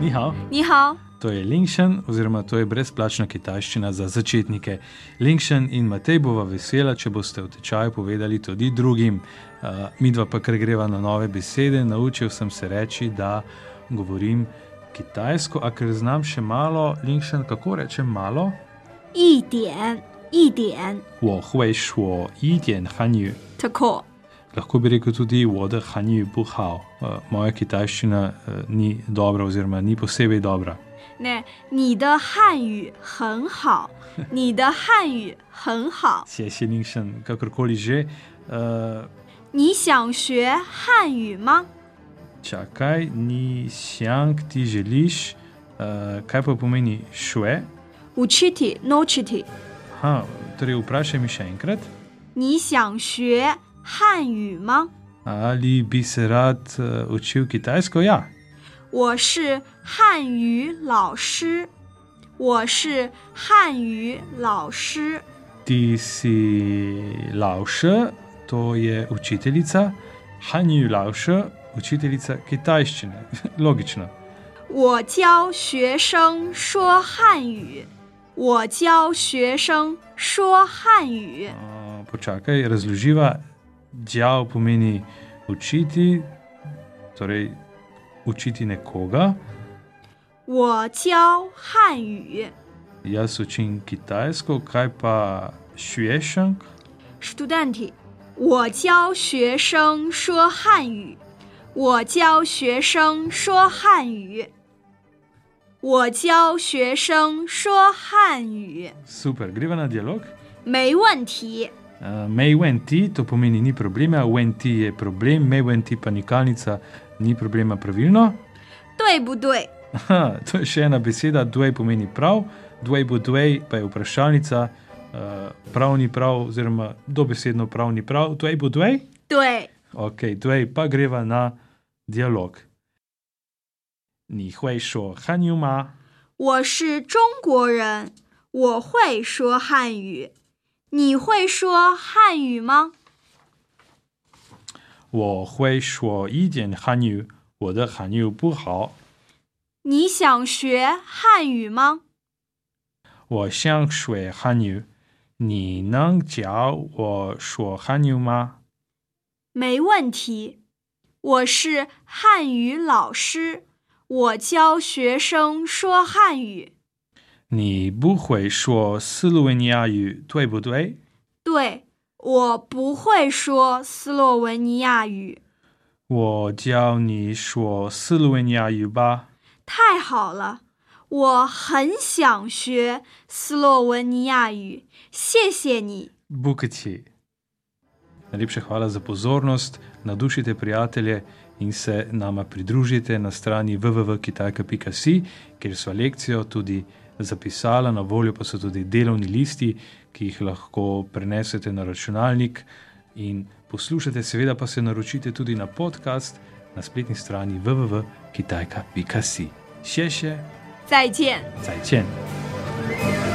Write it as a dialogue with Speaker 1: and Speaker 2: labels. Speaker 1: Ni hao.
Speaker 2: Ni hao.
Speaker 1: To je Linkshen, oziroma to je brezplačna kitajščina za začetnike. Linkshen in Matej bova vesela, če boste v tečaju povedali tudi drugim. Uh, midva pa, ker greva na nove besede, naučil sem se reči, da govorim kitajsko, a ker znam še malo, Linkshen, kako rečem malo?
Speaker 2: 一点一点
Speaker 1: 我会说一点汉语。
Speaker 2: tako.
Speaker 1: Lahko bi rekel tudi voda hanji buhao. Uh, moja kitajščina uh, ni dobra oziroma ni posebej dobra.
Speaker 2: 那你的汉语很好，你的汉语很 好。
Speaker 1: 谢谢您生，kakorkoli že. Uh,
Speaker 2: 你想学汉语吗？
Speaker 1: čakaj, ni sjank ti želiš, uh, kaj pa pomeni šue?
Speaker 2: 无 chiti no chiti。
Speaker 1: Aha, torej vprašaj mi še enkrat,
Speaker 2: 你想学汉语吗？
Speaker 1: ali bi se rad uh, učil kitajsko? Ja,
Speaker 2: 我是汉语老师，我是汉语老师。
Speaker 1: ti si laoše, to je učiteljica, hanju laoše, učiteljica kitajščine. Logično.
Speaker 2: 我教学生说汉语，我教学生说汉语。
Speaker 1: Uh, počakaj, razloživa, džav pomeni učiti, torej učiti nekoga.
Speaker 2: 我教汉语
Speaker 1: Jaz učim kitajsko, kaj pa šuješank?
Speaker 2: student，我教学生说汉语，我教学生说汉语，我教学生说汉语，
Speaker 1: Super, greva na dialog.
Speaker 2: 没问题。
Speaker 1: Uh, Mej venti, to pomeni ni problema, venti je problem, mej venti pa nikalnica, ni problema pravilno.
Speaker 2: 对不对？
Speaker 1: Aha, to je še ena beseda, dvej pomeni prav, dvej bo dvej, pa je vprašalnica, uh, prav ni prav, oziroma dobesedno prav ni prav, dvej bo dvej.
Speaker 2: 对，
Speaker 1: Ok, dvej pa greva na dialog. Ni hoj šo, hanjuma.
Speaker 2: 我是中国人，我会说汉语。你会说汉语吗？
Speaker 1: 我会说一点汉语，我的汉语不好。
Speaker 2: 你想学汉语吗？
Speaker 1: 我想学汉语，你能教我说汉语吗？
Speaker 2: 没问题，我是汉语老师，我教学生说汉语。
Speaker 1: 你不会说斯洛文尼亚语，对不对？
Speaker 2: 对，我不会说斯洛文尼亚语。
Speaker 1: 我教你说斯洛文尼亚语吧。
Speaker 2: 太好了，我很想学斯洛文尼亚语，谢谢你。
Speaker 1: Bukati. Najlepša hvala za pozornost, nadušite prijatelje in se nama pridružite na strani www.kitajka.si, kjer sva lekcijo tudi zapisala, na voljo pa so tudi delovni listi, ki jih lahko prenesete na računalnik in poslušate, seveda pa se naročite tudi na podcast na spletni strani www.kitajka.si. Še še,
Speaker 2: 再见。
Speaker 1: zajčen!